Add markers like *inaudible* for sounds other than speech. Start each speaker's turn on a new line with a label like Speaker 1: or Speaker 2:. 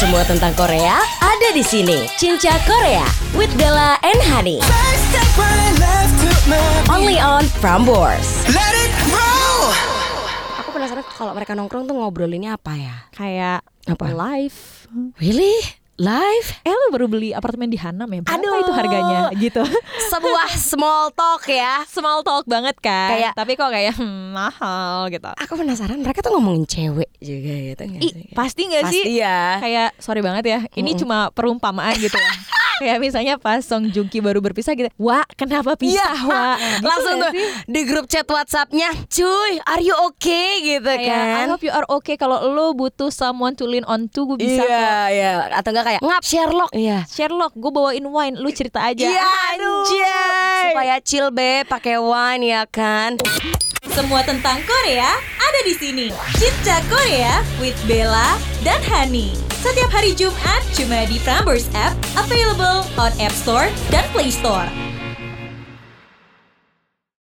Speaker 1: semua tentang Korea ada di sini. Cinca Korea with Della and Hani.
Speaker 2: First step right left to my
Speaker 1: Only on Prambors.
Speaker 2: Let it roll
Speaker 1: Aku penasaran kalau mereka nongkrong tuh ngobrolinnya apa ya?
Speaker 3: kayak
Speaker 1: Apa?
Speaker 3: live.
Speaker 1: Really? Live?
Speaker 3: Eh lu baru beli apartemen di Hanam ya? Berapa itu harganya? *laughs* Gitu.
Speaker 1: Sebuah small talk ya.
Speaker 3: Small talk banget kan.
Speaker 1: Kayak-
Speaker 3: Tapi kok kayak hmm, mahal gitu.
Speaker 1: Aku penasaran mereka tuh ngomongin cewek juga gitu nggak
Speaker 3: Ih,
Speaker 1: sih?
Speaker 3: pasti nggak sih?
Speaker 1: Pasti ya.
Speaker 3: Kayak sorry banget ya. Ini cuma perumpamaan gitu *laughs* ya. kayak misalnya pas Song Joong Ki baru berpisah gitu. Wah, kenapa
Speaker 1: Iya,
Speaker 3: pisah, Wah? Gitu
Speaker 1: langsung
Speaker 3: nggak
Speaker 1: tuh
Speaker 3: sih?
Speaker 1: di grup chat WhatsAppnya, cuy, are you okay gitu
Speaker 3: Kayak,
Speaker 1: kan?
Speaker 3: I hope you are okay kalau lo butuh someone to lean on to gue
Speaker 1: iya,
Speaker 3: bisa kok.
Speaker 1: iya. Atau enggak kayak ngap Sherlock? Iya.
Speaker 3: Sherlock, gue bawain wine, lu cerita aja.
Speaker 1: Iya,
Speaker 3: Aduh.
Speaker 1: anjay. Supaya chill be pakai wine ya kan.
Speaker 3: Semua tentang Korea ada di sini. Cinta Korea with Bella dan Hani. Setiap hari Jumat cuma di Prambors App, available on App Store dan Play Store.